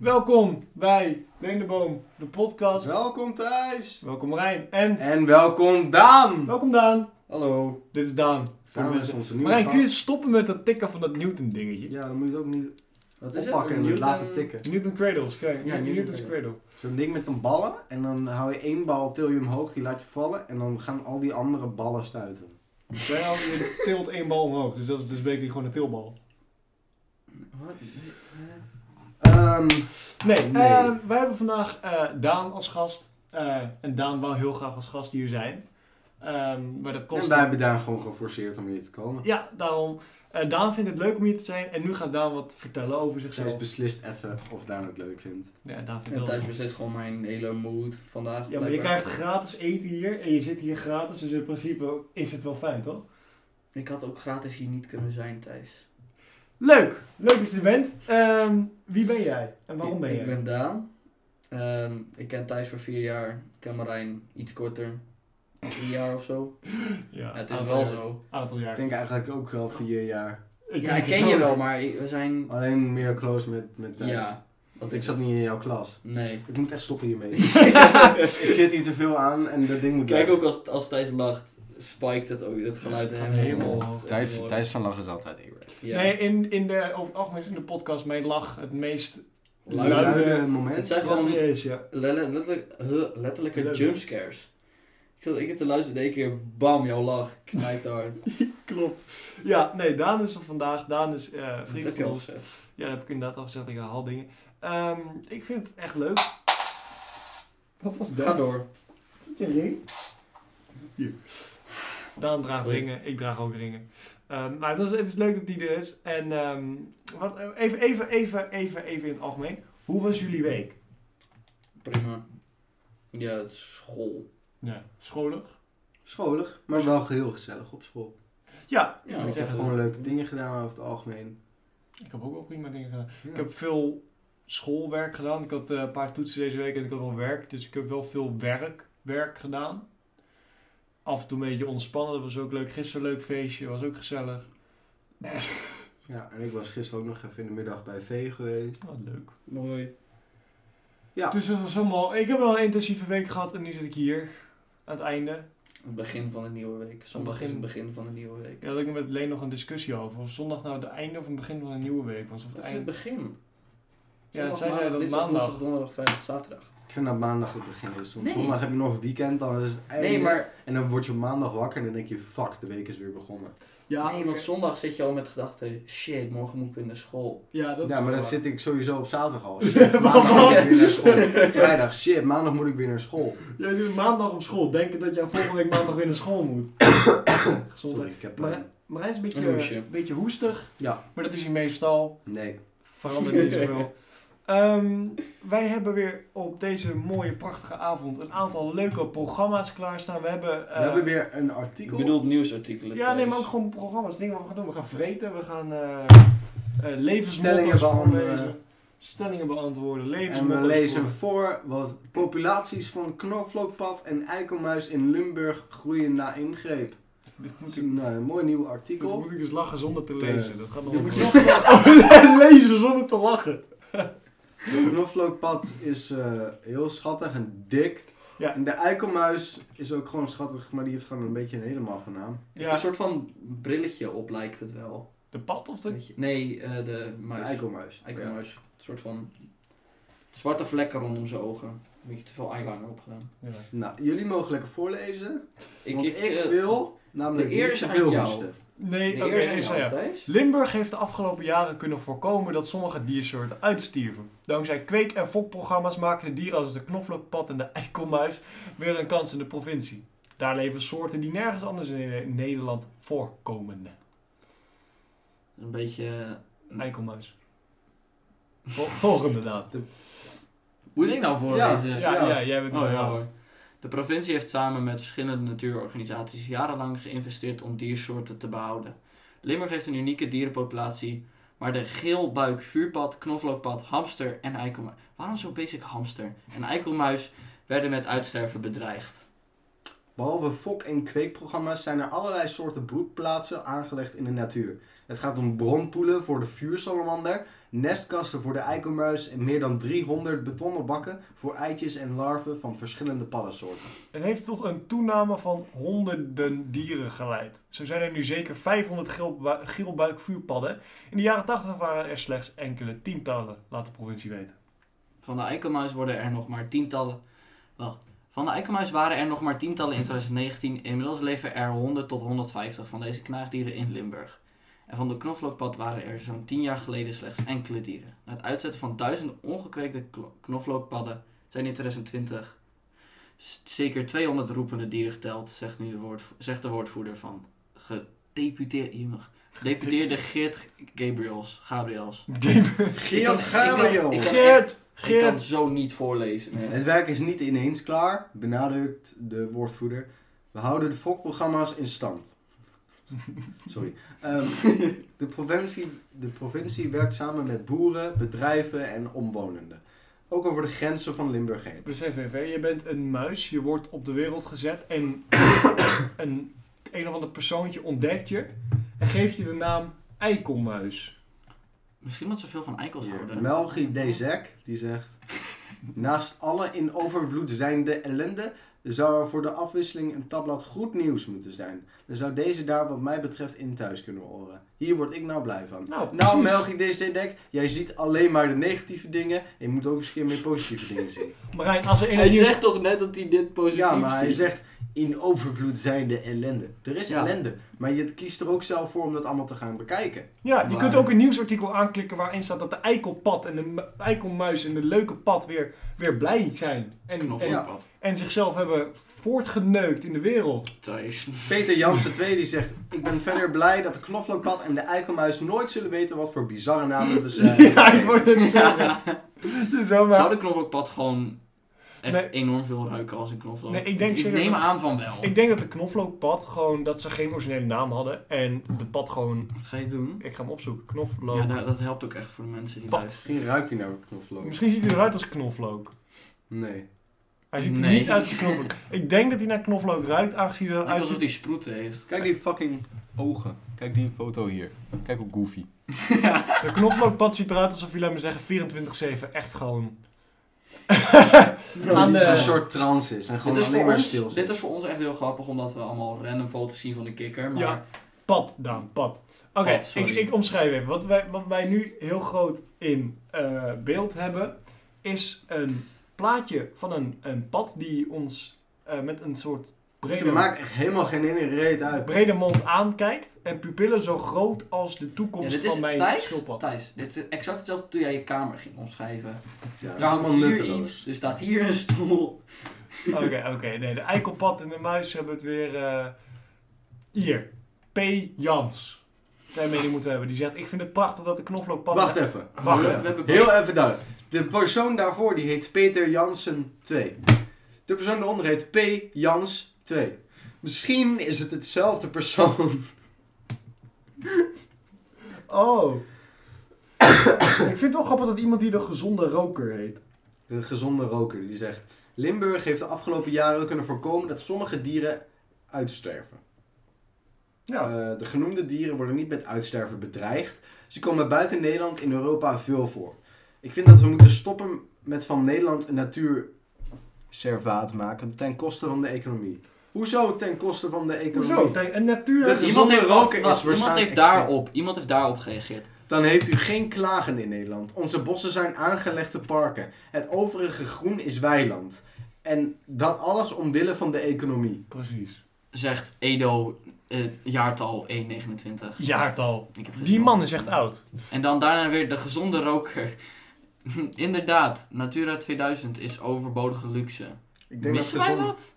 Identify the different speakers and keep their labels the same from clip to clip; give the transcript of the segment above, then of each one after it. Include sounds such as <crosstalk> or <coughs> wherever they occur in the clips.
Speaker 1: Welkom bij Neem de Boom, de podcast.
Speaker 2: Welkom Thijs.
Speaker 1: Welkom Marijn en
Speaker 2: En welkom Daan.
Speaker 1: welkom Daan.
Speaker 3: Hallo.
Speaker 1: Dit is Daan. Voor de
Speaker 2: Daan is
Speaker 1: mensen.
Speaker 2: onze nieuwe
Speaker 1: Marijn, kun je
Speaker 2: gast.
Speaker 1: stoppen met dat tikken van dat Newton dingetje?
Speaker 2: Ja, dan moet je het ook niet
Speaker 3: Wat is
Speaker 2: oppakken en
Speaker 3: het? Newton-
Speaker 2: laten tikken.
Speaker 1: Newton Cradles, kijk.
Speaker 2: Ja, Newton
Speaker 1: Newton's Cradle.
Speaker 2: Zo'n ding met een ballen en dan hou je één bal, til je hem hoog, die laat je vallen en dan gaan al die andere ballen stuiten.
Speaker 1: Zij al- je tilt één bal omhoog, dus dat is dus basically gewoon een tilbal.
Speaker 3: Wat? Eh,
Speaker 2: Ehm,
Speaker 1: Nee,
Speaker 2: Nee.
Speaker 1: eh, wij hebben vandaag eh, Daan als gast. Eh, en Daan wou heel graag als gast hier zijn. Ehm, maar dat kost...
Speaker 2: en wij hebben Daan gewoon geforceerd om hier te komen.
Speaker 1: Ja, daarom. Eh, Daan vindt het leuk om hier te zijn. En nu gaat Daan wat vertellen over
Speaker 2: Thijs
Speaker 1: zichzelf.
Speaker 2: beslist even of Daan het leuk vindt.
Speaker 1: Ja, Daan vindt
Speaker 3: En
Speaker 1: het wel
Speaker 3: thuis beslist gewoon mijn hele mood vandaag.
Speaker 1: Ja, maar je
Speaker 3: blijkbaar.
Speaker 1: krijgt gratis eten hier en je zit hier gratis, dus in principe is het wel fijn, toch?
Speaker 3: Ik had ook gratis hier niet kunnen zijn, Thijs.
Speaker 1: Leuk! Leuk dat je er bent. Ehm, wie ben jij en waarom ben
Speaker 3: ik,
Speaker 1: jij?
Speaker 3: Ik ben Daan. Ehm, ik ken Thijs voor vier jaar. Ik ken Marijn iets korter. Drie jaar of zo.
Speaker 1: Ja,
Speaker 3: Ja, het is
Speaker 1: aantal
Speaker 3: wel
Speaker 1: jaar.
Speaker 3: zo.
Speaker 1: Aantal jaar.
Speaker 2: Ik denk eigenlijk ook wel vier jaar.
Speaker 3: Ja,
Speaker 1: denk
Speaker 3: eh, ik ken
Speaker 1: het
Speaker 3: je
Speaker 1: ook.
Speaker 3: wel, maar ik- we
Speaker 1: Ah,
Speaker 3: zijn...
Speaker 2: Alleen meer close met, met Thijs.
Speaker 3: Ja. Wat
Speaker 2: Want ik zat niet in jouw klas.
Speaker 3: Nee.
Speaker 2: Ik moet echt stoppen hiermee. ik zit hier te veel aan en dat ding moet
Speaker 3: Kijk
Speaker 2: weg.
Speaker 3: ook als, als Thijs lacht, spiked het ook het geluid
Speaker 1: Ja, het
Speaker 3: hem
Speaker 1: gaat helemaal-
Speaker 3: Het is
Speaker 2: Thijs,
Speaker 3: mooi.
Speaker 2: Thijs zijn lach is altijd eerlijk.
Speaker 3: Ja.
Speaker 1: Nee, in, in de, over het algemeen is in de podcast mijn lach het meest
Speaker 3: Luide-
Speaker 2: Luide
Speaker 3: Het
Speaker 2: moment.
Speaker 3: zijn
Speaker 1: wat
Speaker 3: gewoon
Speaker 1: er is, ja.
Speaker 3: Lelle- Letterlijk, huh, letterlijke
Speaker 1: Leuk.
Speaker 3: jumpscares. Ik zat ik zat te luisteren en in één keer, bam, jouw lach knijpt
Speaker 1: <laughs>
Speaker 3: hard.
Speaker 1: Klopt. Ja, nee, Daan is er vandaag. Daan is eh,
Speaker 3: Dat
Speaker 1: vriend
Speaker 3: heb je
Speaker 1: van
Speaker 3: al
Speaker 1: ons.
Speaker 3: gezegd.
Speaker 1: Ja, dat heb ik inderdaad al gezegd. Ik haal dingen. Ehm, ik vind het echt leuk. Wat was
Speaker 3: Ga door.
Speaker 1: Zit je ring? Hier. Daan draagt ringen, ik draag ook ringen. Ehm, maar het is, het is leuk dat die er is. En ehm, wat, even, even, even, even, even in het algemeen. Hoe was jullie week?
Speaker 3: Prima. Ja, het is school.
Speaker 1: Ja, scholig.
Speaker 2: Scholig, maar wel heel gezellig op school.
Speaker 1: Ja,
Speaker 3: Ja,
Speaker 1: ik, moet
Speaker 2: Ik heb
Speaker 1: zeggen,
Speaker 2: gewoon leuke dingen gedaan over het algemeen.
Speaker 1: ik heb ook wel prima dingen gedaan.
Speaker 2: Ja.
Speaker 1: Ik heb veel schoolwerk gedaan. Ik had eh, een paar toetsen deze week en ik had wel werk. Dus ik heb wel veel werk, werk gedaan. Af en toe een beetje ontspannen, dat was ook leuk. Gisteren een leuk feestje, was ook gezellig.
Speaker 2: Ja, en ik was gisteren ook nog even in de middag bij V geweest.
Speaker 1: Wat leuk.
Speaker 3: Mooi.
Speaker 2: Ja.
Speaker 1: Dus dat was allemaal. Ik heb wel een intensieve week gehad en nu zit ik hier. Aan het einde.
Speaker 3: Het begin van de nieuwe week. Zondag is het begin van de nieuwe week.
Speaker 1: Ik had ook met Leen nog een discussie over. Of zondag nou het einde of het begin van een nieuwe week was. Of het
Speaker 3: Dat is het
Speaker 1: einde.
Speaker 3: begin.
Speaker 1: Ja,
Speaker 3: Zondag,
Speaker 1: dat zei zij
Speaker 3: maandag,
Speaker 1: dat
Speaker 3: dinsdag,
Speaker 1: maandag.
Speaker 3: woensdag, donderdag, vrijdag, zaterdag.
Speaker 2: Ik vind dat maandag het begin is. Want
Speaker 3: Nee.
Speaker 2: zondag heb je nog een weekend, dan is het einde.
Speaker 3: Nee, maar
Speaker 2: En dan word je op maandag wakker en dan denk je, fuck, de week is weer begonnen.
Speaker 1: Ja,
Speaker 3: nee, want zondag zit je al met gedachten, shit, morgen moet ik weer naar school.
Speaker 1: ja, dat
Speaker 2: ja,
Speaker 1: is
Speaker 2: maar dat
Speaker 1: waar.
Speaker 2: zit ik sowieso op zaterdag
Speaker 3: <laughs>
Speaker 2: al. Shit, maandag moet ik weer naar school. Vrijdag, shit, maandag moet ik weer naar school.
Speaker 1: Jij doet maandag op school. Denken dat jij volgende week maandag weer naar school
Speaker 2: <coughs>
Speaker 1: moet.
Speaker 2: Sorry,
Speaker 1: Gezondheid.
Speaker 2: ik heb...
Speaker 1: Maar-
Speaker 2: eh,
Speaker 1: Marijn is een
Speaker 3: Een
Speaker 1: beetje,
Speaker 3: hoesje.
Speaker 1: een beetje hoestig.
Speaker 2: Ja.
Speaker 1: Maar dat is hij meestal.
Speaker 2: Nee.
Speaker 3: Eh,
Speaker 1: verandert niet
Speaker 2: <laughs>
Speaker 1: zoveel. Ehm, wij hebben weer op deze mooie, prachtige avond een aantal leuke programma's klaarstaan. We hebben,
Speaker 2: We
Speaker 1: eh,
Speaker 2: hebben weer een
Speaker 3: Ik
Speaker 2: artikel.
Speaker 3: bedoel nieuwsartikelen.
Speaker 1: ja, nee,
Speaker 3: Thijs.
Speaker 1: maar ook gewoon programma's, dingen wat we gaan doen. We gaan vreten, we gaan eh eh,
Speaker 2: Stellingen
Speaker 1: levensmotto's
Speaker 2: beantwoorden.
Speaker 1: voorlezen. Stellingen beantwoorden,
Speaker 2: En we
Speaker 1: levensmotto's
Speaker 2: lezen
Speaker 1: voor-
Speaker 2: voor wat populaties van knoflookpad en eikelmuis in Limburg groeien na ingreep.
Speaker 1: Dit
Speaker 2: Dat
Speaker 1: moet
Speaker 2: is
Speaker 1: ik,
Speaker 2: een eh, mooi nieuw
Speaker 1: dit
Speaker 2: artikel.
Speaker 1: moet ik dus lachen zonder te
Speaker 2: Eh,
Speaker 1: lezen. Dat gaat nog
Speaker 2: je
Speaker 1: wel
Speaker 2: moet
Speaker 1: goed.
Speaker 2: <laughs>
Speaker 1: Oh, lezen zonder te lachen.
Speaker 2: Het knoflookpad is eh, heel schattig en dik.
Speaker 1: Ja.
Speaker 2: En de eikelmuis is ook gewoon schattig, maar die heeft gewoon een beetje een helemaal van naam.
Speaker 3: Heeft
Speaker 1: Ja.
Speaker 3: Een soort van brilletje op lijkt het wel.
Speaker 1: De pad of de...
Speaker 3: Weet je- Nee, eh, de
Speaker 2: De
Speaker 3: muis.
Speaker 2: eikelmuis.
Speaker 3: Eikelmuis. Een soort van zwarte vlekken rondom zijn ogen. Een beetje te veel eyeliner opgedaan.
Speaker 1: Ja.
Speaker 2: Ja. Nou, jullie mogen lekker voorlezen.
Speaker 3: Ik,
Speaker 2: want ik,
Speaker 3: eh,
Speaker 2: wil namelijk
Speaker 3: de eer
Speaker 2: niet
Speaker 3: is
Speaker 2: te
Speaker 3: aan
Speaker 2: veel
Speaker 3: jou.
Speaker 2: hoesten.
Speaker 3: De
Speaker 1: Nee, oké,
Speaker 3: eer is aan jou,
Speaker 1: ik zei ja.
Speaker 3: Thijs.
Speaker 1: Limburg heeft de afgelopen jaren kunnen voorkomen dat sommige diersoorten uitstierven. Dankzij kweek- en fokprogramma's maken de dieren als de knoflookpad en de eikelmuis weer een kans in de provincie. Daar leven soorten die nergens anders in Nederland voorkomen.
Speaker 3: Een beetje... eh,
Speaker 1: Eikelmuis.
Speaker 3: <laughs>
Speaker 1: Vol- volgende naam.
Speaker 3: Hoe denk ik nou voor
Speaker 2: Ja,
Speaker 3: deze...
Speaker 1: Ja, ja.
Speaker 2: Ja.
Speaker 1: jij bent
Speaker 3: Oh,
Speaker 1: de
Speaker 3: ja,
Speaker 1: gast.
Speaker 3: hoor. De provincie heeft samen met verschillende natuurorganisaties jarenlang geïnvesteerd om diersoorten te behouden. Limburg heeft een unieke dierenpopulatie, maar de geelbuik, vuurpad, knoflookpad, hamster en eikelmuis... Waarom zo basic hamster? En eikelmuis werden met uitsterven bedreigd.
Speaker 2: Behalve fok- en kweekprogramma's zijn er allerlei soorten broedplaatsen aangelegd in de natuur. Het gaat om bronpoelen voor de vuursalamander, nestkasten voor de eikelmuis en meer dan 300 betonnen bakken voor eitjes en larven van verschillende paddensoorten.
Speaker 1: Het heeft tot een toename van honderden dieren geleid. Zo zijn er nu zeker 500 geelbu- geelbuikvuurpadden. In de jaren 80 waren er slechts enkele tientallen, laat de provincie weten.
Speaker 3: Van de eikelmuis worden er nog maar tientallen. Wacht. Van de eikelmuis waren er nog maar tientallen in 2019. Inmiddels leven er 100 tot 150 van deze knaagdieren in Limburg. En van de knoflookpad waren er zo'n 10 jaar geleden slechts enkele dieren. Na het uitzetten van duizenden ongekweekte klo- knoflookpadden zijn in 2020 s- zeker 200 roepende dieren geteld, zegt, nu de, woord, zegt de woordvoerder van gedeputeerde, gedeputeerde Geert Gabriels. Gabriels.
Speaker 1: Game-
Speaker 2: Geert
Speaker 3: Ik kan- ik kan-
Speaker 1: Geert!
Speaker 3: Ik kan het
Speaker 1: Geert!
Speaker 3: zo niet voorlezen.
Speaker 2: Het werk is niet ineens klaar, benadrukt de woordvoerder. We houden de fokprogramma's in stand. <laughs> Sorry. Ehm, de, provincie, de provincie werkt samen met boeren, bedrijven en omwonenden. Ook over de grenzen van Limburg heen.
Speaker 1: Besef even, hè, je bent een muis, je wordt op de wereld gezet en <coughs> een, een of ander persoontje ontdekt je en geeft je de naam Eikelmuis.
Speaker 3: Misschien omdat ze veel van eikels houden.
Speaker 2: Melgi Dezek, die zegt... Naast alle in overvloed zijnde ellende... zou er voor de afwisseling een tabblad goed nieuws moeten zijn. Dan zou deze daar wat mij betreft in thuis kunnen horen. Hier word ik nou blij van.
Speaker 1: Nou, precies.
Speaker 2: Nou, Melgi Dezek, jij ziet alleen maar de negatieve dingen... en je moet ook eens een keer meer positieve dingen
Speaker 4: <laughs>
Speaker 2: zien.
Speaker 1: Marijn, als er in
Speaker 3: Hij
Speaker 1: het nieuws...
Speaker 3: zegt toch net dat hij dit positief
Speaker 2: Ja, maar hij
Speaker 3: ziet?
Speaker 2: zegt... In overvloed zijnde ellende. Er is
Speaker 3: Ja.
Speaker 2: ellende. Maar je kiest er ook zelf voor om dat allemaal te gaan bekijken.
Speaker 1: Ja, je
Speaker 2: Maar-
Speaker 1: kunt ook een nieuwsartikel aanklikken waarin staat dat de eikelpad en de mu- eikelmuis en de leuke pad weer, weer blij zijn. En, en,
Speaker 2: ja.
Speaker 3: Knoflookpad.
Speaker 1: en zichzelf hebben voortgeneukt in de wereld.
Speaker 3: Thuis.
Speaker 2: Peter Jansen 2 die zegt: Ik ben verder blij dat de knoflookpad en de eikelmuis nooit zullen weten wat voor bizarre namen we ze
Speaker 4: <laughs>
Speaker 1: <laughs>
Speaker 2: hebben.
Speaker 1: ja, ik word het zeggen. Zo maar.
Speaker 3: Zou de knoflookpad gewoon echt
Speaker 1: Nee.
Speaker 3: enorm veel ruiken als een knoflook?
Speaker 1: Nee, ik denk
Speaker 3: ik
Speaker 1: serieus-
Speaker 3: neem aan van wel.
Speaker 1: Ik denk dat de knoflookpad gewoon, dat ze geen originele naam hadden. En de pad gewoon,
Speaker 3: Wat ga je doen?
Speaker 1: ik ga hem opzoeken,
Speaker 3: Ja,
Speaker 1: knoflook.
Speaker 3: dat, dat helpt ook echt voor de mensen die
Speaker 1: Pad.
Speaker 3: luisteren.
Speaker 2: Misschien ruikt hij nou knoflook.
Speaker 1: Misschien ziet hij eruit als knoflook.
Speaker 2: Nee.
Speaker 1: Hij ziet er
Speaker 3: Nee.
Speaker 1: niet uit als knoflook. ik denk dat hij naar knoflook ruikt, aangezien hij
Speaker 3: Het lijkt
Speaker 1: eruit
Speaker 3: alsof
Speaker 1: ziet.
Speaker 3: hij sproeten heeft.
Speaker 4: Kijk die fucking ogen. Kijk die foto hier. Kijk hoe goofy.
Speaker 1: De knoflookpad ziet eruit alsof hij, laat maar zeggen, 24-7 echt gewoon... Aan
Speaker 2: Aan
Speaker 1: de-
Speaker 2: Een soort trance is en
Speaker 3: Dit
Speaker 2: gewoon
Speaker 3: is,
Speaker 2: alleen
Speaker 3: voor
Speaker 2: maar
Speaker 3: ons,
Speaker 2: stil
Speaker 3: dit
Speaker 2: zit.
Speaker 3: is voor ons echt heel grappig, omdat we allemaal random foto's zien van de kikker. Maar
Speaker 1: Ja. Pad, Daan, pad. Oké,
Speaker 3: Pad,
Speaker 1: ik,
Speaker 3: sorry.
Speaker 1: ik omschrijf even. Wat wij, wat wij nu heel groot in eh, beeld hebben, is een plaatje van een, een pad die ons eh, met een soort
Speaker 2: Dus Het
Speaker 1: brede,
Speaker 2: maakt echt helemaal geen ene reet uit.
Speaker 1: brede mond aankijkt. En pupillen zo groot als de
Speaker 3: Ja,
Speaker 1: toekomst
Speaker 3: dit is
Speaker 1: van mijn
Speaker 3: Thijs,
Speaker 1: schildpad.
Speaker 3: Thijs, dit is exact hetzelfde toen jij je kamer ging omschrijven.
Speaker 2: Ja, dat
Speaker 3: Er
Speaker 2: is
Speaker 3: hangt
Speaker 2: allemaal
Speaker 3: hier iets,
Speaker 2: nutteloos.
Speaker 3: er staat hier een stoel.
Speaker 1: Oké, oké. nee, de eikelpad en de muis hebben het weer... eh, hier, P. Jans. Zijn mening moeten we hebben. Die zegt, ik vind het prachtig dat de knoflookpad...
Speaker 2: Wacht even.
Speaker 1: Wacht
Speaker 2: We-
Speaker 1: even.
Speaker 2: we hebben-
Speaker 3: Heel
Speaker 2: Heel even duidelijk. De persoon daarvoor die heet Peter Jansen 2. De persoon daaronder heet P. Jans 2. Misschien is het hetzelfde persoon.
Speaker 1: Oh. <coughs> ik vind het wel grappig dat iemand die de gezonde roker heet.
Speaker 2: De gezonde roker die zegt: Limburg heeft de afgelopen jaren kunnen voorkomen dat sommige dieren uitsterven. Eh, de genoemde dieren worden niet met uitsterven bedreigd. Ze komen buiten Nederland in Europa veel voor. Ik vind dat we moeten stoppen met van Nederland een natuurservaat maken ten koste van de economie. Hoezo ten koste van de economie?
Speaker 1: Hoezo? Tegen Een
Speaker 2: De
Speaker 1: natuur...
Speaker 2: gezonde
Speaker 3: Iemand heeft,
Speaker 2: roker
Speaker 3: wacht,
Speaker 2: is
Speaker 3: iemand,
Speaker 2: waarschijnlijk
Speaker 3: heeft daarop, iemand heeft daarop gereageerd.
Speaker 2: Dan heeft u geen klagen in Nederland. Onze bossen zijn aangelegde parken. Het overige groen is weiland. En dat alles omwille van de economie.
Speaker 1: Precies.
Speaker 3: Zegt Edo, eh, jaartal 129.
Speaker 1: Jaartal.
Speaker 3: Ik heb geen
Speaker 1: Die man
Speaker 3: verstand.
Speaker 1: is echt oud.
Speaker 3: En dan daarna weer de gezonde roker. <laughs> Inderdaad, Natura 2000 is overbodige luxe.
Speaker 2: Ik denk
Speaker 3: Missen
Speaker 2: dat
Speaker 3: wij
Speaker 2: gezond...
Speaker 3: wat?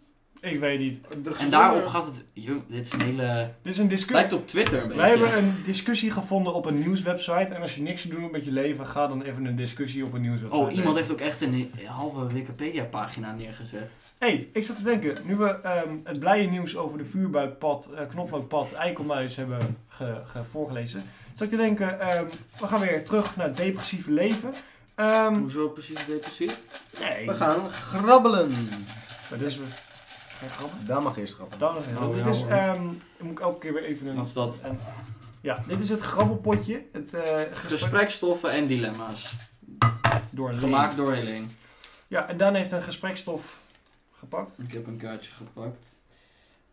Speaker 1: Ik weet niet.
Speaker 2: de
Speaker 3: En
Speaker 2: gezonde-
Speaker 3: daarop gaat het... Jo, dit is een hele...
Speaker 1: Dit is een
Speaker 3: Het
Speaker 1: discussie.
Speaker 3: lijkt op Twitter een
Speaker 1: Wij hebben
Speaker 3: beetje.
Speaker 1: een discussie gevonden op een nieuwswebsite. En als je niks te doen hebt met je leven, ga dan even een discussie op een nieuwswebsite.
Speaker 3: Oh, iemand
Speaker 1: lezen.
Speaker 3: heeft ook echt een halve Wikipedia pagina neergezet.
Speaker 1: hey, ik zat te denken. Nu we ehm, het blije nieuws over de vuurbuikpad, eh, knoflookpad, eikelmuis hebben ge- ge- voorgelezen. Zat ik te denken, ehm, we gaan weer terug naar het depressieve leven. Ehm,
Speaker 3: Hoezo precies depressief?
Speaker 1: nee,
Speaker 2: We gaan grabbelen.
Speaker 1: Maar dit is- Ga je grappen?
Speaker 4: Daar mag eerst grappen.
Speaker 1: Dan nog even.
Speaker 3: Oh,
Speaker 1: dit
Speaker 3: ja,
Speaker 1: is,
Speaker 3: hoor.
Speaker 1: ehm, dan moet ik elke keer weer even een...
Speaker 3: Wat is dat?
Speaker 1: en- ja, dit is het grabbelpotje. Het eh, gesprek
Speaker 3: Gesprekstoffen en dilemma's.
Speaker 1: door Leen.
Speaker 3: Gemaakt door Helene.
Speaker 1: Ja, en Dan heeft een gesprekstof gepakt.
Speaker 3: Ik heb een kaartje gepakt.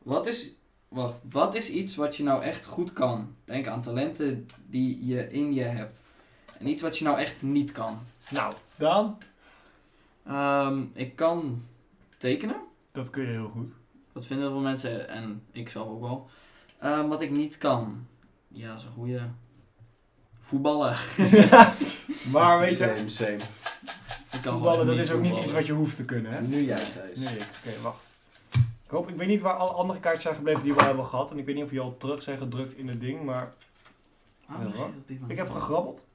Speaker 3: Wat is, wacht, wat is iets wat je nou echt goed kan? Denk aan talenten die je in je hebt. En iets wat je nou echt niet kan.
Speaker 1: Nou, Dan,
Speaker 3: Ehm, ik kan tekenen.
Speaker 1: dat kun je heel goed.
Speaker 3: Dat vinden heel veel mensen en ik zelf ook wel. Ehm, wat ik niet kan. Ja, dat is een goede. Voetballen.
Speaker 1: <laughs>
Speaker 3: <laughs>
Speaker 1: maar weet je,
Speaker 2: Same, same.
Speaker 3: Ik kan
Speaker 1: voetballen dat is ook niet iets wat je hoeft te kunnen, hè?
Speaker 2: Nu jij, Thijs.
Speaker 1: Nee, oké, wacht. Ik hoop, ik weet niet waar alle andere kaartjes zijn gebleven die we hebben gehad. En ik weet niet of die al terug zijn gedrukt in het ding, maar
Speaker 3: Ah,
Speaker 1: ik heb gegrabbeld.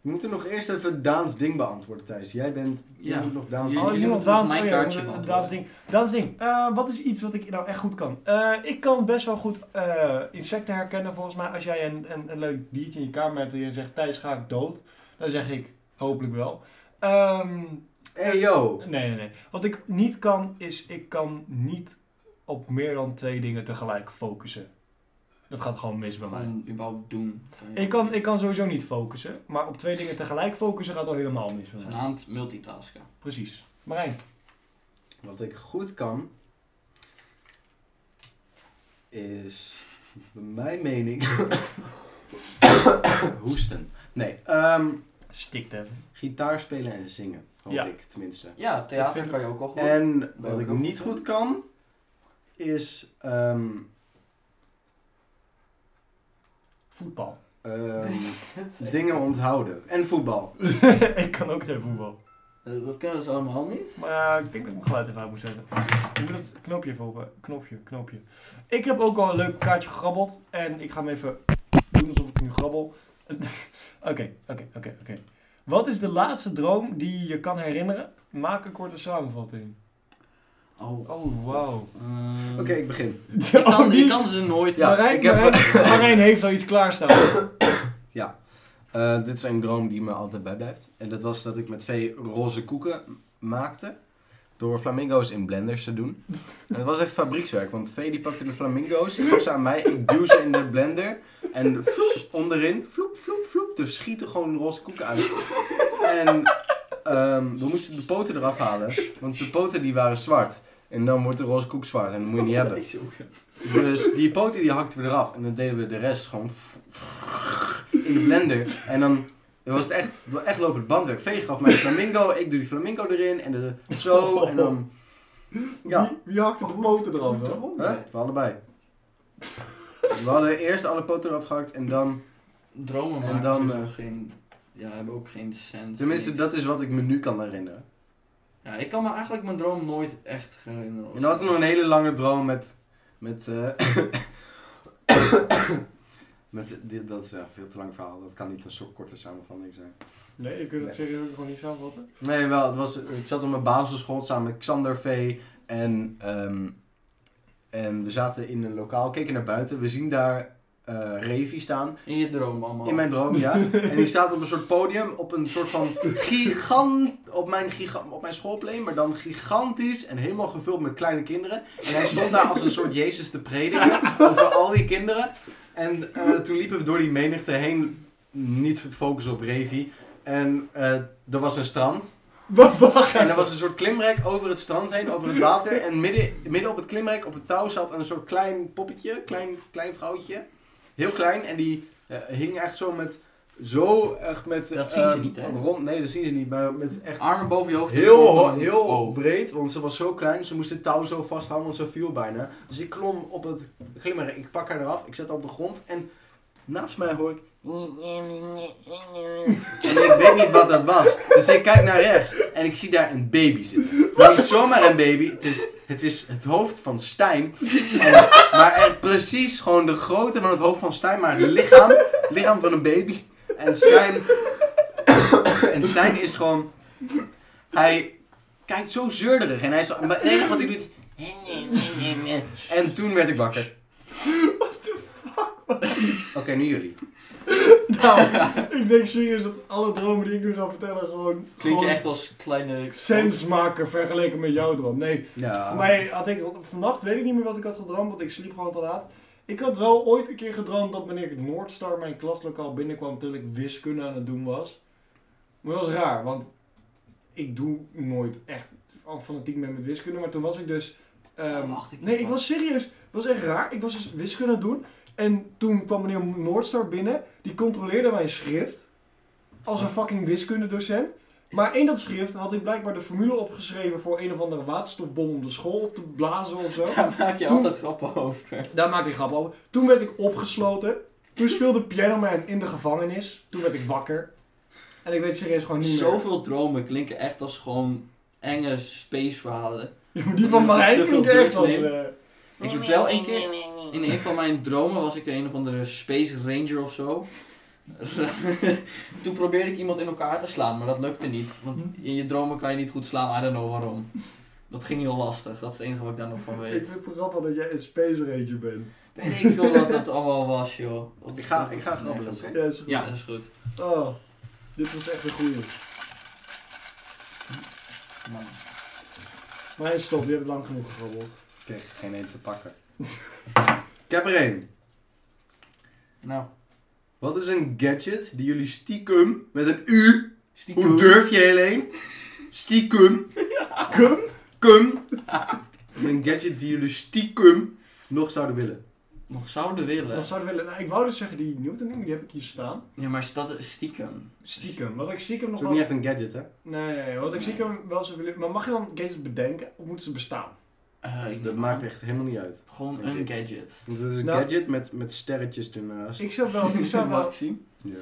Speaker 2: We moeten nog eerst even Daans ding beantwoorden, Thijs. Jij bent...
Speaker 3: Ja.
Speaker 2: Je moet nog Daans
Speaker 3: Jullie-
Speaker 1: Oh, is
Speaker 3: jullie
Speaker 1: iemand
Speaker 3: moeten
Speaker 1: Daans?
Speaker 3: mijn
Speaker 1: Oh ja,
Speaker 3: kaartje
Speaker 1: we moeten- Daans
Speaker 3: beantwoorden.
Speaker 1: ding. Daans ding. Eh, wat is iets wat ik nou echt goed kan? Eh, ik kan best wel goed eh, insecten herkennen volgens mij. Als jij een, een, een leuk diertje in je kamer hebt en je zegt Thijs ga ik dood. Dan zeg ik hopelijk wel. Ehm,
Speaker 2: Hey, yo.
Speaker 1: nee, nee, nee. Wat ik niet kan is ik kan niet op meer dan twee dingen tegelijk focussen. Dat gaat gewoon mis bij mij.
Speaker 3: Gewoon überhaupt doen. Kan je-
Speaker 1: Ik kan, ik kan sowieso niet focussen. Maar op twee dingen tegelijk focussen gaat al helemaal mis bij mij.
Speaker 3: Genaamd multitasken.
Speaker 1: Precies. Marijn.
Speaker 2: Wat ik goed kan... Is... Bij mijn mening... <coughs> Hoesten. Nee. ehm,
Speaker 1: Stikt even.
Speaker 2: gitaar spelen en zingen. Hoop
Speaker 1: Ja.
Speaker 2: ik, tenminste.
Speaker 3: Ja,
Speaker 2: Dat vind
Speaker 3: theater
Speaker 2: ik-
Speaker 3: kan je ook al goed.
Speaker 2: En
Speaker 3: Ben
Speaker 2: wat
Speaker 3: ik
Speaker 2: ik
Speaker 3: ook
Speaker 2: niet
Speaker 3: goed.
Speaker 2: goed kan, is ehm,
Speaker 1: Voetbal. <laughs>
Speaker 2: ehm, dingen onthouden. En voetbal.
Speaker 1: ik kan ook geen voetbal.
Speaker 3: Eh, Dat kennen ze allemaal niet.
Speaker 1: Maar Eh, ik denk dat ik mijn geluid even uit moet zetten. Ik moet dat knopje even open. Knopje, knopje. Ik heb ook al een leuk kaartje gegrabbeld. En ik ga hem even doen alsof ik nu grabbel. <laughs> Oké, oké, oké, oké. Wat is de laatste droom die je kan herinneren? Maak een korte samenvatting.
Speaker 3: Oh.
Speaker 1: Oh, <laughs> wauw.
Speaker 3: Ehm,
Speaker 2: Oké, ik
Speaker 3: <laughs>
Speaker 2: begin.
Speaker 3: Ik kan, ik kan ze nooit.
Speaker 2: Ja,
Speaker 1: Marijn,
Speaker 2: ik heb-
Speaker 1: Marijn- Marijn heeft al iets <laughs> klaarstaan.
Speaker 2: Eh, dit is een droom die me altijd bijblijft. En dat was dat ik met twee roze koeken maakte. Door flamingo's in blenders te doen. En dat was echt fabriekswerk. Want Vee die pakte de flamingo's. Ik gaf ze aan mij. Ik duw ze in de blender. En vloep, onderin. Vloep, vloep, vloep. Er schieten gewoon roze koeken uit. En ehm, we moesten de poten eraf halen. Want de poten die waren zwart. En dan wordt de roze koek zwart. En dat moet je niet
Speaker 1: <laughs>
Speaker 2: hebben. Dus die poten die hakten we eraf. En dan deden we de rest gewoon in de blender. En dan was het echt, echt lopend bandwerk. Vee gaf mij de flamingo, ik doe die flamingo erin. En de, zo, en dan... Ja,
Speaker 1: Wie, wie hakte de poten eraf dan?
Speaker 2: hè? we allebei. We hadden eerst alle poten eraf gehakt en dan...
Speaker 3: Dromen
Speaker 2: En
Speaker 3: maken
Speaker 2: dan,
Speaker 3: sowieso
Speaker 2: eh,
Speaker 3: geen. Ja, hebben ook geen sens.
Speaker 2: Tenminste,
Speaker 3: niks.
Speaker 2: dat is wat ik me nu kan herinneren.
Speaker 3: Ja, ik kan me eigenlijk mijn droom nooit echt herinneren.
Speaker 2: En dan had ik nog een hele lange droom met... Met... eh, <coughs> met dit, dat is echt een veel te lang verhaal. Dat kan niet een soort korte samenvatting zijn.
Speaker 1: Nee, je kunt het
Speaker 2: Nee.
Speaker 1: serieus ook gewoon niet samenvatten.
Speaker 2: Nee, wel. Het was, ik zat op mijn basisschool samen met Xander V. En, ehm, en we zaten in een lokaal, keken naar buiten. We zien daar eh Revi staan.
Speaker 3: In je droom allemaal.
Speaker 2: In mijn droom, ja. En die staat op een soort podium, op een soort van gigant... Op mijn, giga, op mijn schoolplein, maar dan gigantisch en helemaal gevuld met kleine kinderen. En hij stond daar als een soort Jezus te prediken over al die kinderen. En eh, toen liepen we door die menigte heen, niet focussen op Revi. En eh, er was een strand. En er was een soort klimrek over het strand heen, over het water. En midden, midden op het klimrek, op het touw, zat een soort klein poppetje, klein, klein vrouwtje. Heel klein. En die eh, hing echt zo met... Zo echt met...
Speaker 3: Dat zien ze
Speaker 2: eh,
Speaker 3: niet, hè?
Speaker 2: Rond, nee, dat zien ze niet. Maar met echt
Speaker 3: Armen boven je hoofd.
Speaker 2: heel, ho-
Speaker 3: Van-
Speaker 2: heel
Speaker 3: Oh.
Speaker 2: breed. Want ze was zo klein. Ze moest het touw zo vasthouden, want ze viel bijna. Dus ik klom op het klimrek. Ik pak haar eraf. Ik zet haar op de grond. En naast mij hoor ik... En ik weet niet wat dat was. Dus ik kijk naar rechts en ik zie daar een baby zitten. Maar niet zomaar een baby, het is het, is het hoofd van Stijn. En- maar echt precies gewoon de grootte van het hoofd van Stijn, maar het lichaam, lichaam van een baby. En Stijn, en Stijn is gewoon, hij kijkt zo zeurderig en hij is, maar het enige wat hij doet is... En toen werd ik wakker. What the fuck? Oké, nu jullie.
Speaker 1: Nou, <laughs> ik denk serieus dat alle dromen die ik nu ga vertellen gewoon...
Speaker 3: Klink je
Speaker 1: gewoon
Speaker 3: echt als kleine...
Speaker 1: Sens maken vergeleken met jouw droom. Nee,
Speaker 2: Ja.
Speaker 1: Voor mij had ik vannacht, weet ik niet meer wat ik had gedroomd, want ik sliep gewoon te laat. Ik had wel ooit een keer gedroomd dat meneer Noordstar mijn klaslokaal binnenkwam terwijl ik wiskunde aan het doen was. Maar dat was raar, want ik doe nooit echt fanatiek mee met wiskunde, maar toen was ik dus... ehm,
Speaker 3: Oh, wacht, ik-
Speaker 1: nee, ik was serieus. Het was echt raar. Ik was dus wiskunde aan het doen en toen kwam meneer Noordstar binnen. Die controleerde mijn schrift als een fucking wiskundedocent. Maar in dat schrift had ik blijkbaar de formule opgeschreven voor een of andere waterstofbom om de school op te blazen of zo.
Speaker 2: Oh.
Speaker 3: Daar maak je
Speaker 1: Toen-
Speaker 3: altijd grappen over.
Speaker 1: Daar maakte ik grap over. Toen werd ik opgesloten. Toen speelde Piano Man in de gevangenis. Toen werd ik wakker. En ik weet serieus gewoon niet meer.
Speaker 3: Zoveel dromen klinken echt als gewoon enge spaceverhalen.
Speaker 1: Ja, maar Die van
Speaker 3: <laughs>
Speaker 1: Marijn
Speaker 3: Te veel
Speaker 1: klinkt echt
Speaker 3: drugs
Speaker 1: als...
Speaker 3: nemen.
Speaker 1: eh,
Speaker 3: Ik heb wel één keer... In een van mijn dromen was ik een of andere space ranger of zo. Toen probeerde ik iemand in elkaar te slaan, maar dat lukte niet. Want in je dromen kan je niet goed slaan, I don't know waarom. Dat ging heel lastig, dat is het enige wat ik daar nog van weet.
Speaker 1: ik vind het grappig dat jij een Space Ranger bent.
Speaker 3: Nee, ik wil dat het allemaal was, joh. Dat
Speaker 2: Ik ga,
Speaker 3: is-
Speaker 2: ik ga
Speaker 3: Nee, dat is-
Speaker 2: grappig
Speaker 1: Ja, is goed.
Speaker 3: Ja, dat is goed.
Speaker 1: Oh, dit was echt een goeie.
Speaker 3: Man.
Speaker 1: Maar stop, je hebt lang genoeg gegrabbeld.
Speaker 2: Ik kreeg geen eten te pakken. <laughs> ik heb er één.
Speaker 3: Nou,
Speaker 2: Wat is een gadget die jullie stiekem met een U...
Speaker 3: stiekem.
Speaker 2: Hoe durf je alleen? Stiekem.
Speaker 1: Kum?
Speaker 2: Kum. Wat is een gadget die jullie stiekem nog zouden willen?
Speaker 3: Nog zouden willen.
Speaker 1: Wat zouden we willen? Nou, ik wou dus zeggen die Newton die heb ik hier staan.
Speaker 3: Ja, maar is dat is stiekem.
Speaker 1: Stiekem. Wat ik stiekem
Speaker 2: Dat
Speaker 1: nog
Speaker 2: is ook
Speaker 1: wel...
Speaker 2: niet echt een gadget, hè?
Speaker 1: Nee, nee, nee. Wat ik stiekem wel zou willen... Maar mag je dan gadgets bedenken? Of moeten ze bestaan?
Speaker 3: Eh, ik-
Speaker 2: Dat maakt echt helemaal niet uit.
Speaker 3: Gewoon
Speaker 2: Denk
Speaker 3: een
Speaker 2: ik.
Speaker 3: gadget.
Speaker 2: Want Dat is een
Speaker 1: Nou.
Speaker 2: gadget met, met sterretjes ernaast.
Speaker 1: Ik zou wel... Ik zou
Speaker 3: Mag
Speaker 1: wel...
Speaker 3: <laughs> ik zien?
Speaker 2: Ja.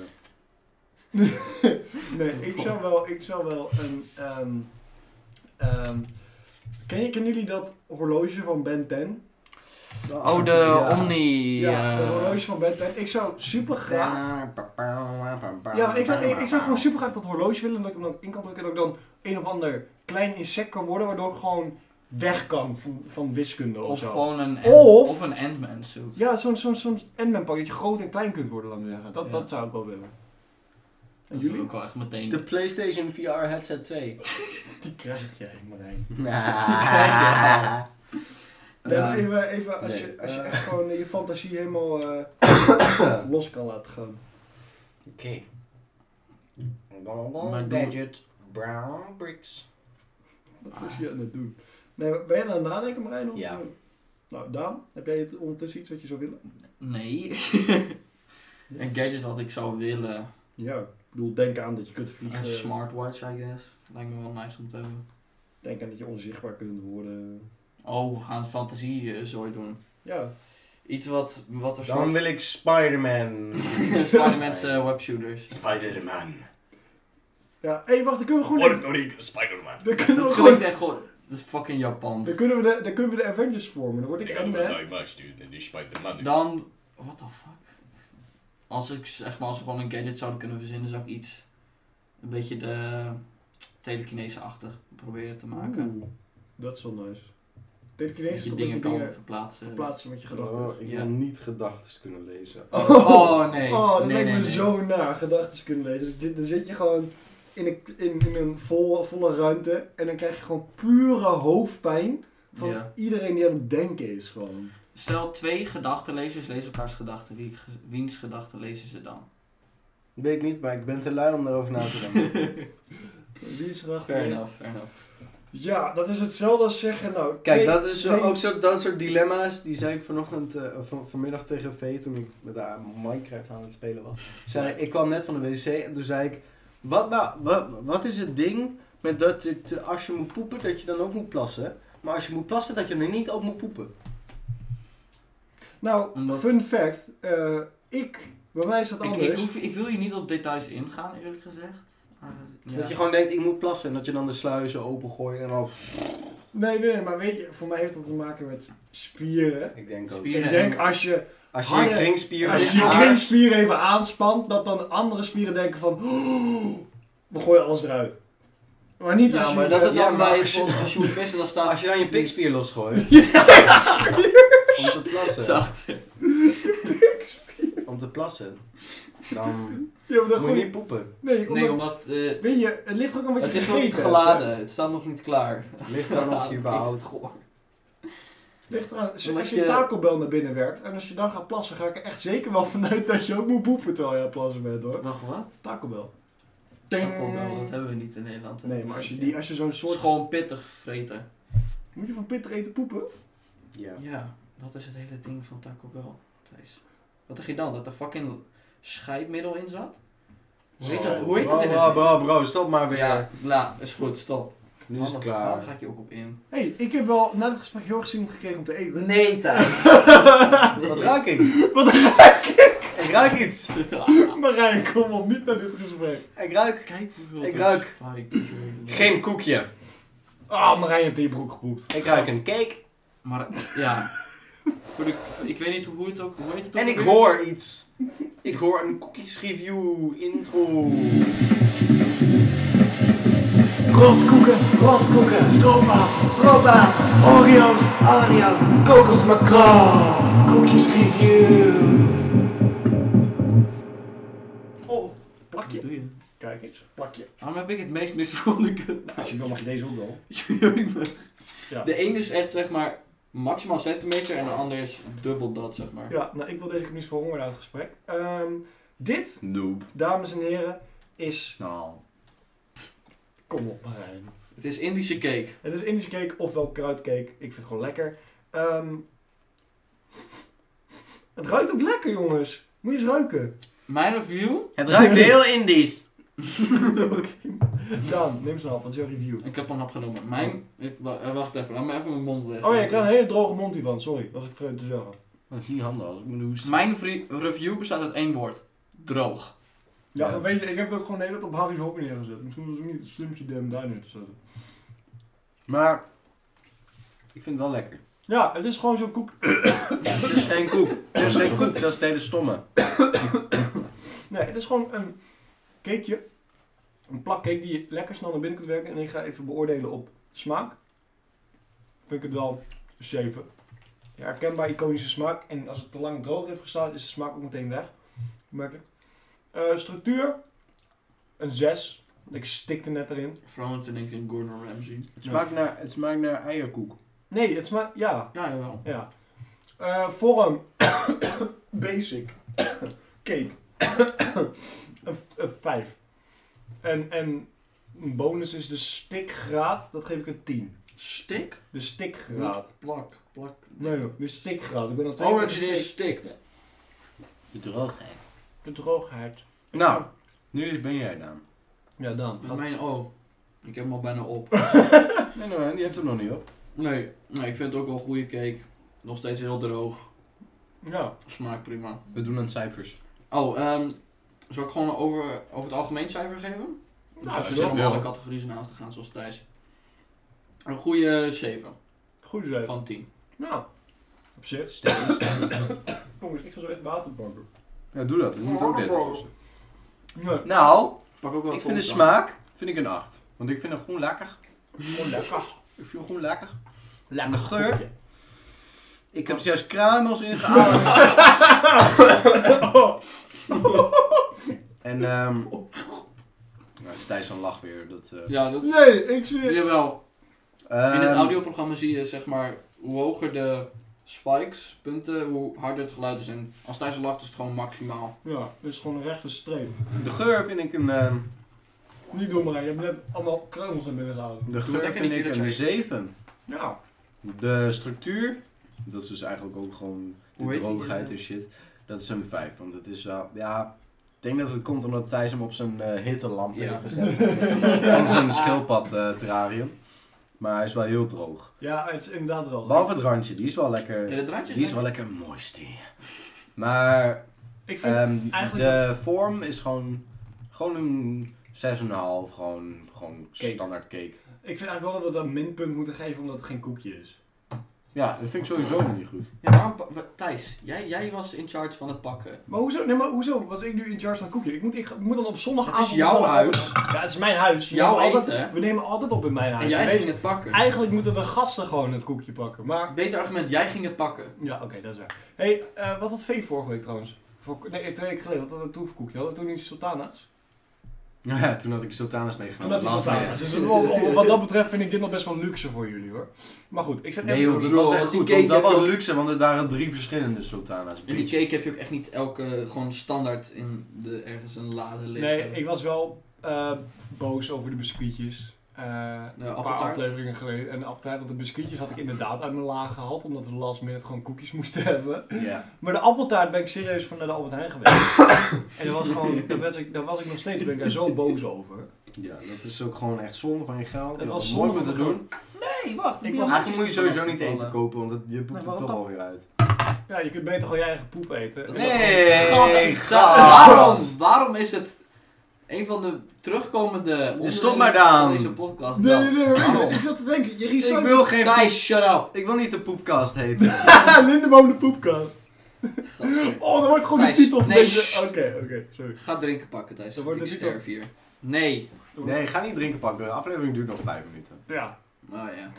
Speaker 1: Nee, ik zou wel... Ik zou wel een... ehm ehm ken je, kennen jullie dat horloge van Ben 10?
Speaker 3: Oh, de
Speaker 2: Ja.
Speaker 3: Omni.
Speaker 1: Ja,
Speaker 3: eh,
Speaker 1: dat horloge van Ben 10. Ik zou super graag... Ja, maar ik zou, ik, ik zou gewoon super graag dat horloge willen. Dat ik hem dan in kan drukken. En dat ik dan een of ander klein insect kan worden. Waardoor ik gewoon weg kan van, van wiskunde of,
Speaker 3: Of
Speaker 1: zo.
Speaker 3: gewoon een,
Speaker 1: Of-
Speaker 3: of een Ant-Man suit.
Speaker 1: Ja, zo'n zo'n zo'n Ant-Man pak. Dat je groot en klein kunt worden, laten we zeggen. Dat,
Speaker 3: Ja.
Speaker 1: dat zou ik wel willen. En
Speaker 3: Dat is
Speaker 1: jullie?
Speaker 3: ook <laughs> wel echt meteen.
Speaker 2: De PlayStation VR
Speaker 1: <laughs>
Speaker 2: headset 2.
Speaker 1: Die krijg jij, Marijn. <laughs>
Speaker 3: Ja.
Speaker 1: Nee,
Speaker 3: Ja.
Speaker 1: dus even, even als,
Speaker 2: Nee,
Speaker 1: je, als je
Speaker 2: eh.
Speaker 1: echt gewoon je fantasie helemaal eh, <coughs> los kan laten gaan.
Speaker 2: Oké.
Speaker 3: Maar doe-
Speaker 2: Gadget. Brown bricks.
Speaker 1: Wat is je aan het doen? Nee, ben je aan het nadenken, Marijn? Of,
Speaker 2: Ja.
Speaker 1: Nou, Daan, heb jij het ondertussen iets wat je zou willen?
Speaker 3: Nee. een gadget wat ik zou willen.
Speaker 1: Ja, ik bedoel, denk aan dat je kunt
Speaker 3: Een
Speaker 1: vliegen.
Speaker 3: smartwatch, I guess. Lijkt me wel nice om te hebben.
Speaker 1: Denk aan dat je onzichtbaar kunt worden.
Speaker 3: Oh, we gaan fantasie eh, zooi doen.
Speaker 1: Ja,
Speaker 3: Iets wat, wat er
Speaker 2: Dan
Speaker 3: soort...
Speaker 2: wil ik <laughs> Spider-Man.
Speaker 3: <laughs> Spider-Man's eh, webshooters.
Speaker 2: Spider-Man.
Speaker 1: ja. hé, wacht, dan kunnen we
Speaker 2: Word
Speaker 1: gewoon...
Speaker 2: nog niet Spider-Man.
Speaker 1: Dan kunnen
Speaker 3: Dat
Speaker 1: we
Speaker 3: klinkt
Speaker 1: gewoon...
Speaker 3: echt gewoon... Dat is fucking Japans.
Speaker 1: Dan kunnen we de, dan kunnen we de Avengers vormen. Dan word ik Ant-Man.
Speaker 4: maar sturen en die Spider-Man.
Speaker 3: Dan... What the fuck? Als ik zeg maar, als we gewoon een gadget zouden kunnen verzinnen, zou ik iets... Een beetje de... Telekinese-achtig proberen te maken.
Speaker 1: Oeh, Dat is wel nice.
Speaker 3: Dat
Speaker 1: Telekinesis is
Speaker 3: je
Speaker 1: toch dat je
Speaker 3: dingen kan
Speaker 1: dingen
Speaker 3: verplaatsen.
Speaker 1: verplaatsen met je
Speaker 2: Oh,
Speaker 1: gedachten.
Speaker 2: ik
Speaker 3: Ja.
Speaker 2: wil niet gedachten kunnen lezen. <laughs>
Speaker 1: Oh.
Speaker 3: Oh nee.
Speaker 1: Oh, dat
Speaker 3: nee,
Speaker 1: lijkt
Speaker 3: nee,
Speaker 1: me
Speaker 3: nee.
Speaker 1: zo naar, gedachten kunnen lezen. Dus dit- dan zit je gewoon in een, in, in een vol, volle ruimte en dan krijg je gewoon pure hoofdpijn van
Speaker 3: Ja.
Speaker 1: iedereen die aan het denken is gewoon.
Speaker 3: Stel twee gedachtenlezers lezen elkaars gedachten. Wie, ge- wiens gedachten lezen ze dan?
Speaker 2: Weet ik niet, maar ik ben te lui om daarover na te denken.
Speaker 1: Wie is graag
Speaker 3: Fair enough, fair enough.
Speaker 1: Ja, dat is hetzelfde als zeggen, nou...
Speaker 2: <laughs> Kijk,
Speaker 1: twee-
Speaker 2: dat is zo-
Speaker 1: twee-
Speaker 2: ook zo, dat soort dilemma's. Die zei ik vanochtend, eh, van, vanmiddag tegen V toen ik met haar Minecraft aan het spelen was. Zei, ik, ik kwam net van de wc en toen zei ik, wat nou, wat, wat is het ding met dat het, eh, als je moet poepen, dat je dan ook moet plassen. Maar als je moet plassen, dat je er niet op moet poepen.
Speaker 1: Nou,
Speaker 3: Omdat-
Speaker 1: fun fact, eh, ik, bij mij is dat
Speaker 3: Ik,
Speaker 1: anders.
Speaker 3: ik, hoef, ik wil hier niet op details ingaan, eerlijk gezegd. Maar, ja.
Speaker 2: Dat je gewoon denkt, ik moet plassen. En dat je dan de sluizen opengooit en dan...
Speaker 1: Nee, nee, maar weet je, voor mij heeft dat te maken met spieren.
Speaker 2: Ik denk ook.
Speaker 3: Spieren
Speaker 1: ik denk
Speaker 3: en-
Speaker 1: als je
Speaker 2: Als je je
Speaker 1: Harde-
Speaker 2: kringspier
Speaker 1: Als je je kringspier even aanspant, dat dan andere spieren denken van... "Oh, we gooien alles eruit. Maar niet als
Speaker 3: ja,
Speaker 1: je...
Speaker 3: maar dat het
Speaker 2: ja,
Speaker 3: dan
Speaker 2: maar
Speaker 3: bij
Speaker 2: als je-
Speaker 3: bijvoorbeeld als je moet pissen, dan staat...
Speaker 2: Als je dan je pikspier <laughs> losgooit. Om te plassen.
Speaker 3: Zacht.
Speaker 2: Om om te plassen, dan
Speaker 1: Ja, maar dan
Speaker 2: moet je
Speaker 1: gooi je...
Speaker 2: niet poepen.
Speaker 1: Nee, omdat...
Speaker 3: Nee, omdat eh,
Speaker 1: Weet je, het ligt ook aan wat
Speaker 3: het
Speaker 1: je
Speaker 3: is nog niet
Speaker 1: gegeten hebt, hè.
Speaker 3: geladen. Het staat nog niet klaar.
Speaker 2: Ligt dan of je überhaupt...
Speaker 1: Ligt eraan. Als je,
Speaker 3: Omdat
Speaker 1: als je een
Speaker 3: je-
Speaker 1: tacobel naar binnen werkt en als je dan gaat plassen, ga ik er echt zeker wel <laughs> vanuit dat je ook moet boepen terwijl je aan het plassen bent hoor.
Speaker 3: Wacht, wat?
Speaker 1: Tacobel.
Speaker 3: Tacobel, dat hebben we niet in Nederland. hè?
Speaker 1: Nee, maar als je, die, als je zo'n
Speaker 3: Het is
Speaker 1: soort...
Speaker 3: gewoon pittig vreten.
Speaker 1: Moet je van pittig eten poepen?
Speaker 2: Ja.
Speaker 3: Ja, dat is het hele ding van Taco Bell, Thijs. Wat dacht je dan? Dat er fucking scheidmiddel in zat? Hoe heet dat, hoe heet dat in
Speaker 2: Bro,
Speaker 3: het...
Speaker 2: bro, bro, stop maar weer.
Speaker 3: Ja, nou, is goed, stop.
Speaker 2: Nu is het
Speaker 3: Handig, Daar ga
Speaker 2: klaar.
Speaker 3: ik je ook op in.
Speaker 1: Hé, hey, ik heb wel na dit gesprek heel erg zin gekregen om te eten.
Speaker 3: Nee, Thijs.
Speaker 2: Wat raak ik?
Speaker 1: Wat raak
Speaker 2: Ik raak iets.
Speaker 1: je, <laughs> Marijn, kom op, niet naar dit gesprek.
Speaker 2: Ik
Speaker 3: <laughs>
Speaker 2: ruik.
Speaker 3: Kijk hoeveel
Speaker 2: Ik
Speaker 3: er
Speaker 2: ruik.
Speaker 3: spike is.
Speaker 2: Geen koekje.
Speaker 1: Ah, Marijn, je hebt in je broek gepoept.
Speaker 2: Ik ruik een cake.
Speaker 3: Maar, ja. Voor de, ik weet niet hoe het ook... Hoe heet het ook
Speaker 2: En ik
Speaker 3: weer?
Speaker 2: hoor iets. Ik hoor een cookies review intro.
Speaker 1: Roskoeken, roskoeken, stroopwafels, stroopwafels, Oreo's, Oreo's, kokos macro, koekjes review.
Speaker 3: Oh, wat
Speaker 1: Plakje.
Speaker 3: doe je?
Speaker 1: Kijk eens, plakje.
Speaker 3: Waarom heb ik het meest misvoelde kut? <laughs>
Speaker 1: Nou, Als je wil mag je deze ook wel. Ja.
Speaker 3: De een is echt, zeg maar, maximaal centimeter en de ander is dubbel dat, zeg maar.
Speaker 1: Ja, nou ik wil deze keer niet voor honger uit het gesprek. Ehm, dit,
Speaker 4: Noob.
Speaker 1: dames en heren, is...
Speaker 4: Nou.
Speaker 1: Kom op Marijn.
Speaker 3: Het is Indische cake.
Speaker 1: Het is Indische cake ofwel kruidcake. Ik vind het gewoon lekker. Ehm, het ruikt ook lekker jongens. Moet je eens ruiken. <laughs>
Speaker 3: Mijn review?
Speaker 2: Het
Speaker 1: ruikt heel
Speaker 2: indisch.
Speaker 1: Dan, neem snel, wat is jouw review?
Speaker 3: Ik heb een hap genomen. Mijn... ik- wa- eh, wacht even, laat me even mijn mond weg.
Speaker 1: Oh ja, ik had een hele droge mond hiervan, sorry, was ik vreemd te zeggen.
Speaker 4: Dat is niet handig als ik me hoest.
Speaker 3: Mijn vri- review bestaat uit één woord. Droog.
Speaker 1: Ja,
Speaker 4: Ja.
Speaker 1: maar weet je, ik heb het ook gewoon de hele tijd op Harry's Hokken neergezet. Misschien was het ook niet het slimste idee om daar neer te zetten.
Speaker 2: Maar ik vind het wel lekker.
Speaker 1: Ja, het is gewoon zo'n koek.
Speaker 2: Het is dus geen koek. Het is geen koek. Dat is de hele stomme.
Speaker 1: Nee, het is gewoon een cakeje. Een plak cake die je lekker snel naar binnen kunt werken. En ik ga even beoordelen op smaak. Vind ik het wel een 7. Ja, herkenbaar iconische smaak. En als het te lang droog heeft gestaan, is de smaak ook meteen weg. Merk ik. Eh, structuur, een 6. Ik stikte net erin.
Speaker 3: Vooral toen denk ik aan Gordon Ramsay.
Speaker 2: Het smaakt naar, het smaakt naar eierkoek.
Speaker 1: Nee, het smaakt... Ja,
Speaker 3: Ja, jawel.
Speaker 1: ja. Eh, vorm. <coughs> Basic. <coughs> Cake. <coughs> een, v- een vijf. En, en een bonus is de stikgraad. Dat geef ik een 10.
Speaker 3: Stik?
Speaker 1: De stikgraad.
Speaker 3: Plak, plak.
Speaker 1: Nee, joh, de stikgraad. Ik ben al twee
Speaker 3: Oh,
Speaker 1: keer
Speaker 3: dat je
Speaker 1: gestikt.
Speaker 3: deze stikt.
Speaker 2: De droogheid.
Speaker 1: De droogheid.
Speaker 2: Nou, nu is ben jij dan.
Speaker 1: Ja, Nou, dan.
Speaker 3: Mijn oh. Ik heb hem al bijna op.
Speaker 2: Nee, nee, nee, die hebt hem nog niet op.
Speaker 3: Nee, nee, ik vind het ook wel een goede cake. Nog steeds heel droog.
Speaker 1: Ja. Nou,
Speaker 3: Smaakt prima.
Speaker 2: We doen aan cijfers.
Speaker 3: Oh, ehm... Zal ik gewoon een over, over het algemeen cijfer geven? ik
Speaker 1: Nou, als
Speaker 3: heb
Speaker 1: je
Speaker 2: zit
Speaker 3: zin
Speaker 1: wil.
Speaker 3: om
Speaker 2: wel.
Speaker 3: alle categorieën naast te gaan, zoals Thijs. Een goede 7
Speaker 1: Goed zo.
Speaker 3: van 10.
Speaker 1: Nou. Op zich.
Speaker 2: Sterren.
Speaker 1: <coughs> Jongens, ik ga zo echt water pakken.
Speaker 2: Ja, doe dat. Ik moet ook dit oplossen.
Speaker 1: Nee.
Speaker 2: Nou,
Speaker 3: Pak ook wel
Speaker 2: ik
Speaker 3: het
Speaker 2: vind de
Speaker 3: volgende.
Speaker 2: smaak vind ik een 8. Want ik vind het gewoon lekker.
Speaker 1: Gewoon lekker.
Speaker 2: Ik vind het gewoon lekker.
Speaker 1: Lekker
Speaker 2: geur.
Speaker 1: koekje.
Speaker 2: Ik heb zelfs kruimels <laughs> ingehaald. en ehm nou, is Thijs een lach weer. Dat, eh.
Speaker 3: Ja, dat is...
Speaker 1: Nee, ik zie
Speaker 3: Jawel. In het
Speaker 2: Ehm,
Speaker 3: audioprogramma zie je, zeg maar, hoe hoger de spikes, punten, hoe harder het geluid is. En als Thijs lacht, is het gewoon maximaal.
Speaker 1: Ja, dit is gewoon een rechte streep.
Speaker 2: De geur vind ik een, ehm,
Speaker 1: Niet doen, maar je hebt net allemaal kruimels naar binnen gehouden.
Speaker 2: de
Speaker 3: dat
Speaker 2: geur
Speaker 3: vind ik
Speaker 2: vind ik
Speaker 3: eerlijk zeggen.
Speaker 2: een 7.
Speaker 1: Ja.
Speaker 2: De structuur, dat is dus eigenlijk ook gewoon
Speaker 3: Hoe
Speaker 2: de
Speaker 3: heet die,
Speaker 2: droogheid
Speaker 3: eh?
Speaker 2: en shit. Dat is een 5. Want het is wel, ja, ik denk dat het komt omdat Thijs hem op zijn eh, hittelamp
Speaker 3: Ja.
Speaker 2: heeft gezet. <laughs> Van zijn schildpad eh, terrarium. Maar hij is wel heel droog.
Speaker 1: Ja, het is inderdaad wel.
Speaker 2: Behalve het randje, die is wel lekker.
Speaker 3: Ja, dat randje
Speaker 2: Die is wel lekker moisty. Maar
Speaker 1: Ik vind
Speaker 2: ehm,
Speaker 1: eigenlijk
Speaker 2: de vorm is gewoon, gewoon een 6,5. Gewoon, gewoon
Speaker 1: Cake.
Speaker 2: standaard cake.
Speaker 1: Ik vind eigenlijk wel dat we dat een minpunt moeten geven omdat het geen koekje is.
Speaker 2: Ja, dat vind ik sowieso niet goed.
Speaker 3: Ja, waarom pa- wa- Thijs, jij, jij was in charge van het pakken.
Speaker 1: Maar hoezo, nee, maar hoezo was ik nu in charge van het koekje? Ik moet, ik, ga- ik moet dan op
Speaker 3: Het
Speaker 1: zondagavond...
Speaker 3: is jouw huis.
Speaker 1: Ja, het is mijn huis. We
Speaker 3: Jouw
Speaker 1: nemen altijd-
Speaker 3: eten, hè?
Speaker 1: We nemen altijd op in mijn huis.
Speaker 3: En jij
Speaker 1: Weet-
Speaker 3: ging het pakken.
Speaker 1: Eigenlijk moeten de gasten gewoon het koekje pakken, maar...
Speaker 3: Beter argument, jij ging het pakken.
Speaker 1: Ja, oké, dat is waar. Hé, hey, eh, wat had Vee vorige week trouwens? voor- nee, twee weken geleden, wat hadden we een toeverkoekje? Hadden we toen niet sultana's?
Speaker 2: Ja, toen had ik sultanas
Speaker 1: Toen
Speaker 2: meegenomen.
Speaker 1: had die
Speaker 2: Last
Speaker 1: sultana's.
Speaker 2: minute.
Speaker 1: Dus om- om- wat dat betreft vind ik dit nog best wel luxe voor jullie hoor. Maar goed, ik zet
Speaker 2: Nee
Speaker 1: even
Speaker 2: joh, dat
Speaker 1: door.
Speaker 2: was
Speaker 1: Zo,
Speaker 2: echt
Speaker 1: die
Speaker 2: goed.
Speaker 1: cake
Speaker 2: want Dat
Speaker 1: heb ik
Speaker 2: was
Speaker 1: ook-
Speaker 2: luxe, want het waren drie verschillende sultanas.
Speaker 3: En die
Speaker 2: bitch.
Speaker 3: cake heb je ook echt niet elke gewoon standaard in de, ergens een lade liggen.
Speaker 1: Nee, ik was wel eh, boos over de biscuitjes. Eh, een paar
Speaker 3: appeltaart.
Speaker 1: afleveringen geleden. En de appeltaart, want de biscuitjes had ik inderdaad uit mijn laag gehaald. Omdat we last minute gewoon koekjes moesten <laughs> hebben.
Speaker 2: Ja.
Speaker 1: Maar de appeltaart ben ik serieus van naar de Albert Heijn
Speaker 2: <coughs>
Speaker 1: geweest. en daar was, gewoon, daar, was ik, daar was ik nog steeds ben ik daar zo boos over.
Speaker 2: ja, dat is ook gewoon echt zonde van je geld.
Speaker 1: Het
Speaker 2: Je
Speaker 1: was
Speaker 2: had nooit
Speaker 1: zonde
Speaker 2: moeten
Speaker 1: van
Speaker 2: doen.
Speaker 3: Nee, wacht.
Speaker 1: Ik
Speaker 3: die
Speaker 1: was-
Speaker 3: appeltaartjes
Speaker 2: Eigenlijk moet je
Speaker 3: die
Speaker 2: sowieso niet
Speaker 3: vallen.
Speaker 2: eten kopen, want dat, je poept
Speaker 3: Nee,
Speaker 2: het
Speaker 3: waarom
Speaker 2: toch
Speaker 3: dan?
Speaker 2: alweer uit.
Speaker 1: Ja, je kunt beter gewoon je eigen poep eten.
Speaker 3: Dat is
Speaker 2: Nee,
Speaker 3: Ja,
Speaker 2: gast!
Speaker 3: daarom, daarom is het een van de terugkomende onderdelen
Speaker 2: stop maar, Daan.
Speaker 3: van deze podcast.
Speaker 1: Nee, nee,
Speaker 3: dan.
Speaker 1: nee, nee,
Speaker 2: Waarom?
Speaker 1: Ik zat te denken, je
Speaker 2: Ik
Speaker 1: recycelt...
Speaker 2: wil geen...
Speaker 3: Thijs, shut up.
Speaker 2: Ik wil niet de poepkast heten. <laughs>
Speaker 1: Haha, Lindeboom de poepkast.
Speaker 3: Gadver.
Speaker 1: Oh, dan wordt gewoon
Speaker 3: Thijs,
Speaker 1: de titel van
Speaker 3: nee,
Speaker 1: deze...
Speaker 3: shh.
Speaker 1: Oké, oké, sorry.
Speaker 3: Ga drinken pakken, Thijs.
Speaker 1: Dan wordt
Speaker 3: ik
Speaker 1: het niet
Speaker 3: sterf hier. Nee.
Speaker 2: Nee, ga niet drinken pakken. De aflevering duurt nog vijf minuten.
Speaker 1: Ja,
Speaker 3: Nou ja, dat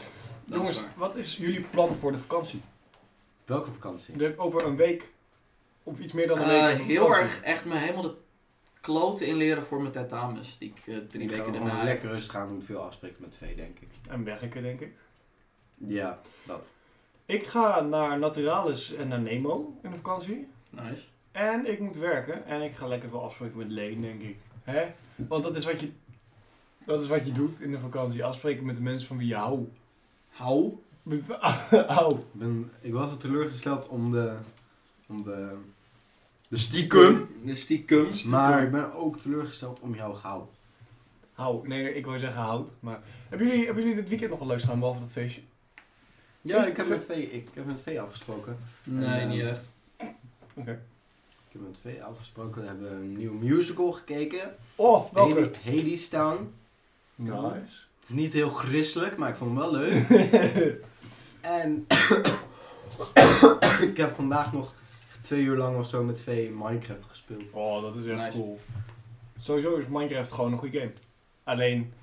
Speaker 3: is
Speaker 1: jongens,
Speaker 3: waar.
Speaker 1: wat is jullie plan voor de vakantie?
Speaker 2: Welke vakantie?
Speaker 1: De- over een week of iets meer dan een week.
Speaker 3: Eh,
Speaker 1: hebben we
Speaker 3: heel
Speaker 1: vakantie.
Speaker 3: erg echt me helemaal de kloten inleren voor mijn tentamens. Die ik eh, drie
Speaker 2: Ik ga
Speaker 3: weken
Speaker 2: gewoon
Speaker 3: daarna heb.
Speaker 2: lekker rustig aan doen. Veel afspreken met V, denk ik.
Speaker 1: En werken, denk ik.
Speaker 2: Ja, dat.
Speaker 1: Ik ga naar Naturalis en naar Nemo in de vakantie.
Speaker 3: Nice.
Speaker 1: En ik moet werken. En ik ga lekker veel afspreken met Leen, denk ik. Hè? Want dat is wat je... Dat is wat je doet in de vakantie. Afspreken met de mensen van wie je houdt.
Speaker 3: Hou.
Speaker 1: Met- <laughs> Au.
Speaker 2: Ik, ben, ik was wel teleurgesteld om de... Om de... De stiekem.
Speaker 3: Dus stiekem.
Speaker 2: Maar ik ben ook teleurgesteld om jou gauw.
Speaker 1: Hou. Nee, ik wil zeggen hout. Maar hebben jullie, hebben jullie dit weekend nog wel leuk staan, behalve dat feestje?
Speaker 2: Ja,
Speaker 1: Dus
Speaker 2: ik heb,
Speaker 1: het-
Speaker 2: met v, ik heb met V afgesproken.
Speaker 3: Nee,
Speaker 2: En, eh,
Speaker 3: niet echt.
Speaker 1: Oké.
Speaker 2: Ik heb met V afgesproken. We hebben een nieuwe musical gekeken.
Speaker 1: Oh, welke?
Speaker 2: Hades, Hades Town.
Speaker 1: Nice.
Speaker 2: Het is niet heel christelijk, maar ik vond hem wel <laughs> leuk. en ik heb vandaag nog twee uur lang of zo met V Minecraft gespeeld.
Speaker 1: Oh, dat is echt
Speaker 3: Nice.
Speaker 1: cool. Sowieso is Minecraft gewoon een goede game. Alleen,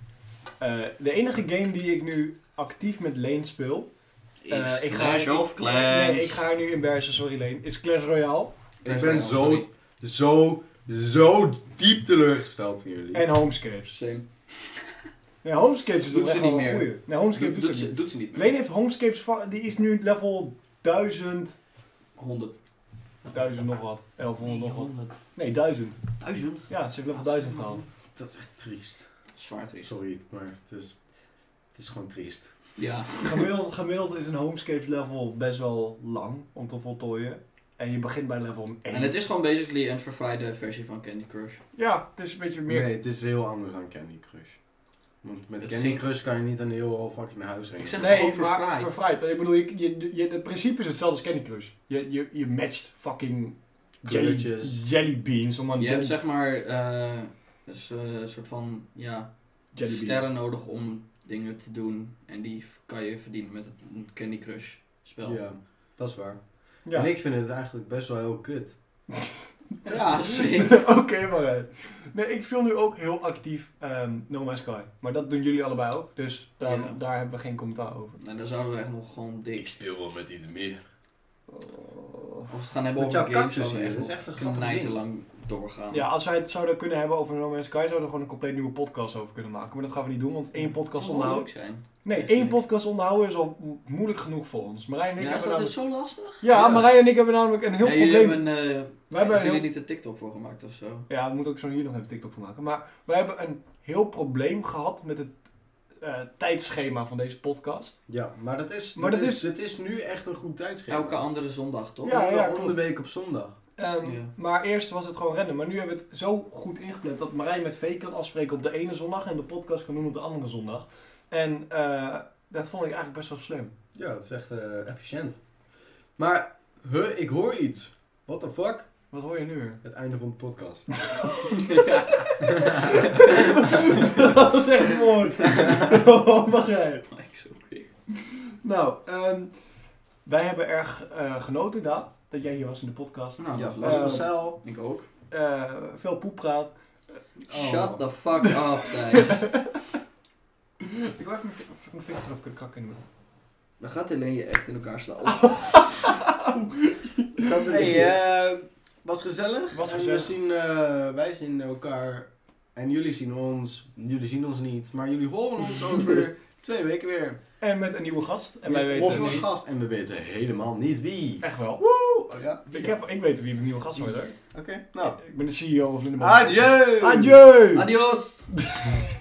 Speaker 1: eh, de enige game die ik nu actief met Leen speel... eh, ik ga
Speaker 3: Clash of Clans.
Speaker 1: Nee, ik ga haar nu embarrassen, sorry Leen. Is Clash Royale
Speaker 2: Ik
Speaker 3: Clash
Speaker 2: ben
Speaker 3: Royale,
Speaker 2: zo,
Speaker 3: sorry.
Speaker 2: zo, zo diep teleurgesteld in jullie.
Speaker 1: en Homescapes.
Speaker 3: Same.
Speaker 1: Nee, Homescapes is
Speaker 3: Doet
Speaker 1: toch
Speaker 3: ze
Speaker 1: echt
Speaker 3: niet
Speaker 1: wel
Speaker 3: meer.
Speaker 1: een goeie. Nee, Homescapes doet,
Speaker 3: Doet
Speaker 1: ze
Speaker 3: ze-
Speaker 1: niet.
Speaker 3: doet ze niet
Speaker 1: Leen
Speaker 3: meer.
Speaker 1: heeft Homescapes... va- Die is nu level 1000...
Speaker 3: 100.
Speaker 1: 1000 nog wat. 1100 nog wat.
Speaker 3: 100.
Speaker 1: Nee, 1000.
Speaker 3: 1000?
Speaker 1: Ja, ze heeft level 1000 gehaald.
Speaker 2: Dat is echt triest.
Speaker 3: Zwaar triest.
Speaker 2: Sorry, maar het is, het is gewoon triest.
Speaker 3: Ja.
Speaker 1: Gemiddeld, gemiddeld is een homescapes level best wel lang om te voltooien. En je begint bij level 1.
Speaker 3: En het is gewoon basically een verfraaide versie van Candy Crush.
Speaker 1: Ja, het is een beetje meer...
Speaker 2: Nee, het is heel anders dan Candy Crush. Want met
Speaker 3: Het
Speaker 2: Candy
Speaker 3: ging-
Speaker 2: Crush kan je niet een heel fucking huis
Speaker 3: Ik
Speaker 2: regelen.
Speaker 3: zeg-
Speaker 1: Nee,
Speaker 3: gewoon
Speaker 1: maar
Speaker 3: verfraaid.
Speaker 1: verfraaid. Ik bedoel, je, je, je- het principe is hetzelfde als Candy Crush. Je, je, je matcht fucking jelly,
Speaker 2: Kleurtjes.
Speaker 1: jelly beans. Om aan
Speaker 3: Je hebt
Speaker 1: jelly,
Speaker 3: zeg maar eh, dus, eh, een soort van ja,
Speaker 1: jelly beans.
Speaker 3: sterren nodig om dingen te doen. En die v- kan je verdienen met het Candy Crush spel.
Speaker 2: Ja, dat is waar.
Speaker 1: Ja.
Speaker 2: En ik vind het eigenlijk best wel heel kut.
Speaker 3: Ja, sick.
Speaker 1: <laughs> Oké, maar eh, Nee, ik speel nu ook heel actief ehm No Man's Sky. Maar dat doen jullie allebei ook. Dus daar,
Speaker 3: Ja.
Speaker 1: daar hebben we geen commentaar over.
Speaker 3: Nou, daar zouden we echt nog gewoon dik.
Speaker 2: speel wel met iets meer.
Speaker 1: Oh.
Speaker 3: Als we het gaan hebben
Speaker 2: Met
Speaker 3: over
Speaker 2: jouw
Speaker 3: games,
Speaker 2: cactus
Speaker 3: zouden we echt
Speaker 2: hier, dat is
Speaker 3: nog
Speaker 2: echt een grappig
Speaker 3: knijten
Speaker 2: ding.
Speaker 3: lang doorgaan.
Speaker 1: Ja, als wij het zouden kunnen hebben over No Man's Sky, zouden we gewoon een compleet nieuwe podcast over kunnen maken. Maar dat gaan we niet doen, want
Speaker 3: Dat
Speaker 1: één
Speaker 3: zou
Speaker 1: podcast
Speaker 3: wel
Speaker 1: onderhouden.
Speaker 3: leuk zijn.
Speaker 1: Nee, één podcast onderhouden is al mo- moeilijk genoeg voor ons. Marijn en
Speaker 3: Ja,
Speaker 1: ik
Speaker 3: is
Speaker 1: hebben
Speaker 3: dat dus
Speaker 1: namelijk.
Speaker 3: zo lastig?
Speaker 1: Ja,
Speaker 2: Ja.
Speaker 1: Marijn en ik hebben namelijk een heel
Speaker 3: ja,
Speaker 1: probleem.
Speaker 3: jullie hebben, eh,
Speaker 1: Wij hebben een
Speaker 3: jullie
Speaker 1: heel...
Speaker 3: niet een TikTok voor gemaakt of zo.
Speaker 1: Ja, we moeten ook zo hier nog even TikTok van maken. Maar wij hebben een heel probleem gehad met het eh, tijdschema van deze podcast.
Speaker 2: Ja, maar dat is,
Speaker 1: Maar
Speaker 2: dat
Speaker 1: dat
Speaker 2: is,
Speaker 1: is-
Speaker 2: dat is nu echt een goed tijdschema.
Speaker 3: Elke andere zondag, toch?
Speaker 1: Ja,
Speaker 3: <laughs>
Speaker 2: Om de-
Speaker 1: ja,
Speaker 2: om de
Speaker 1: klopt.
Speaker 2: week op zondag.
Speaker 1: Ehm,
Speaker 3: Ja.
Speaker 1: Maar eerst was het gewoon rennen. Maar nu hebben we het zo goed ingepland dat Marijn met V kan afspreken op de ene zondag en de podcast kan doen op de andere zondag. En eh, dat vond ik eigenlijk best wel slim.
Speaker 2: Ja, dat is echt eh, efficiënt. Maar, huh, ik hoor iets. What the fuck?
Speaker 1: Wat hoor je nu
Speaker 3: <laughs>
Speaker 1: weer? <laughs>
Speaker 2: Het einde van de podcast.
Speaker 1: dat is echt mooi. <laughs> oh, Marijn.
Speaker 3: Ik zo weer.
Speaker 1: Nou, ehm, wij hebben erg eh, genoten, Daan, dat jij hier was in de podcast.
Speaker 3: Nou,
Speaker 2: ja,
Speaker 3: dat
Speaker 2: was
Speaker 3: was
Speaker 1: eh,
Speaker 2: een
Speaker 3: lastig.
Speaker 2: cel.
Speaker 3: Ik ook.
Speaker 1: Eh, veel poeppraat. Oh.
Speaker 3: Shut the
Speaker 1: <laughs>
Speaker 3: fuck up, Thijs.
Speaker 1: Ik wil even mijn, vin- of ik mijn vinger eraf kunnen kakken. in de mond.
Speaker 3: Dan <laughs> gaat Helene je echt in elkaar slaan.
Speaker 2: Hey, eh, Was gezellig.
Speaker 1: Was
Speaker 2: En
Speaker 1: gezellig.
Speaker 2: We zien, eh, wij zien elkaar en jullie zien ons. Jullie zien ons niet, maar jullie horen
Speaker 1: <laughs>
Speaker 2: ons over twee weken weer.
Speaker 1: En met een nieuwe gast. En wij
Speaker 2: Met of
Speaker 1: weten
Speaker 2: een
Speaker 1: niet.
Speaker 2: gast en we weten helemaal niet wie.
Speaker 1: Echt wel.
Speaker 2: Woe! Ja.
Speaker 1: Ik, heb, ik weet wie de nieuwe gast wordt. hoor.
Speaker 2: Oké, nou.
Speaker 1: E Ik ben de CEO van Lindemann.
Speaker 2: Adieu!
Speaker 1: Adieu!
Speaker 3: Adios!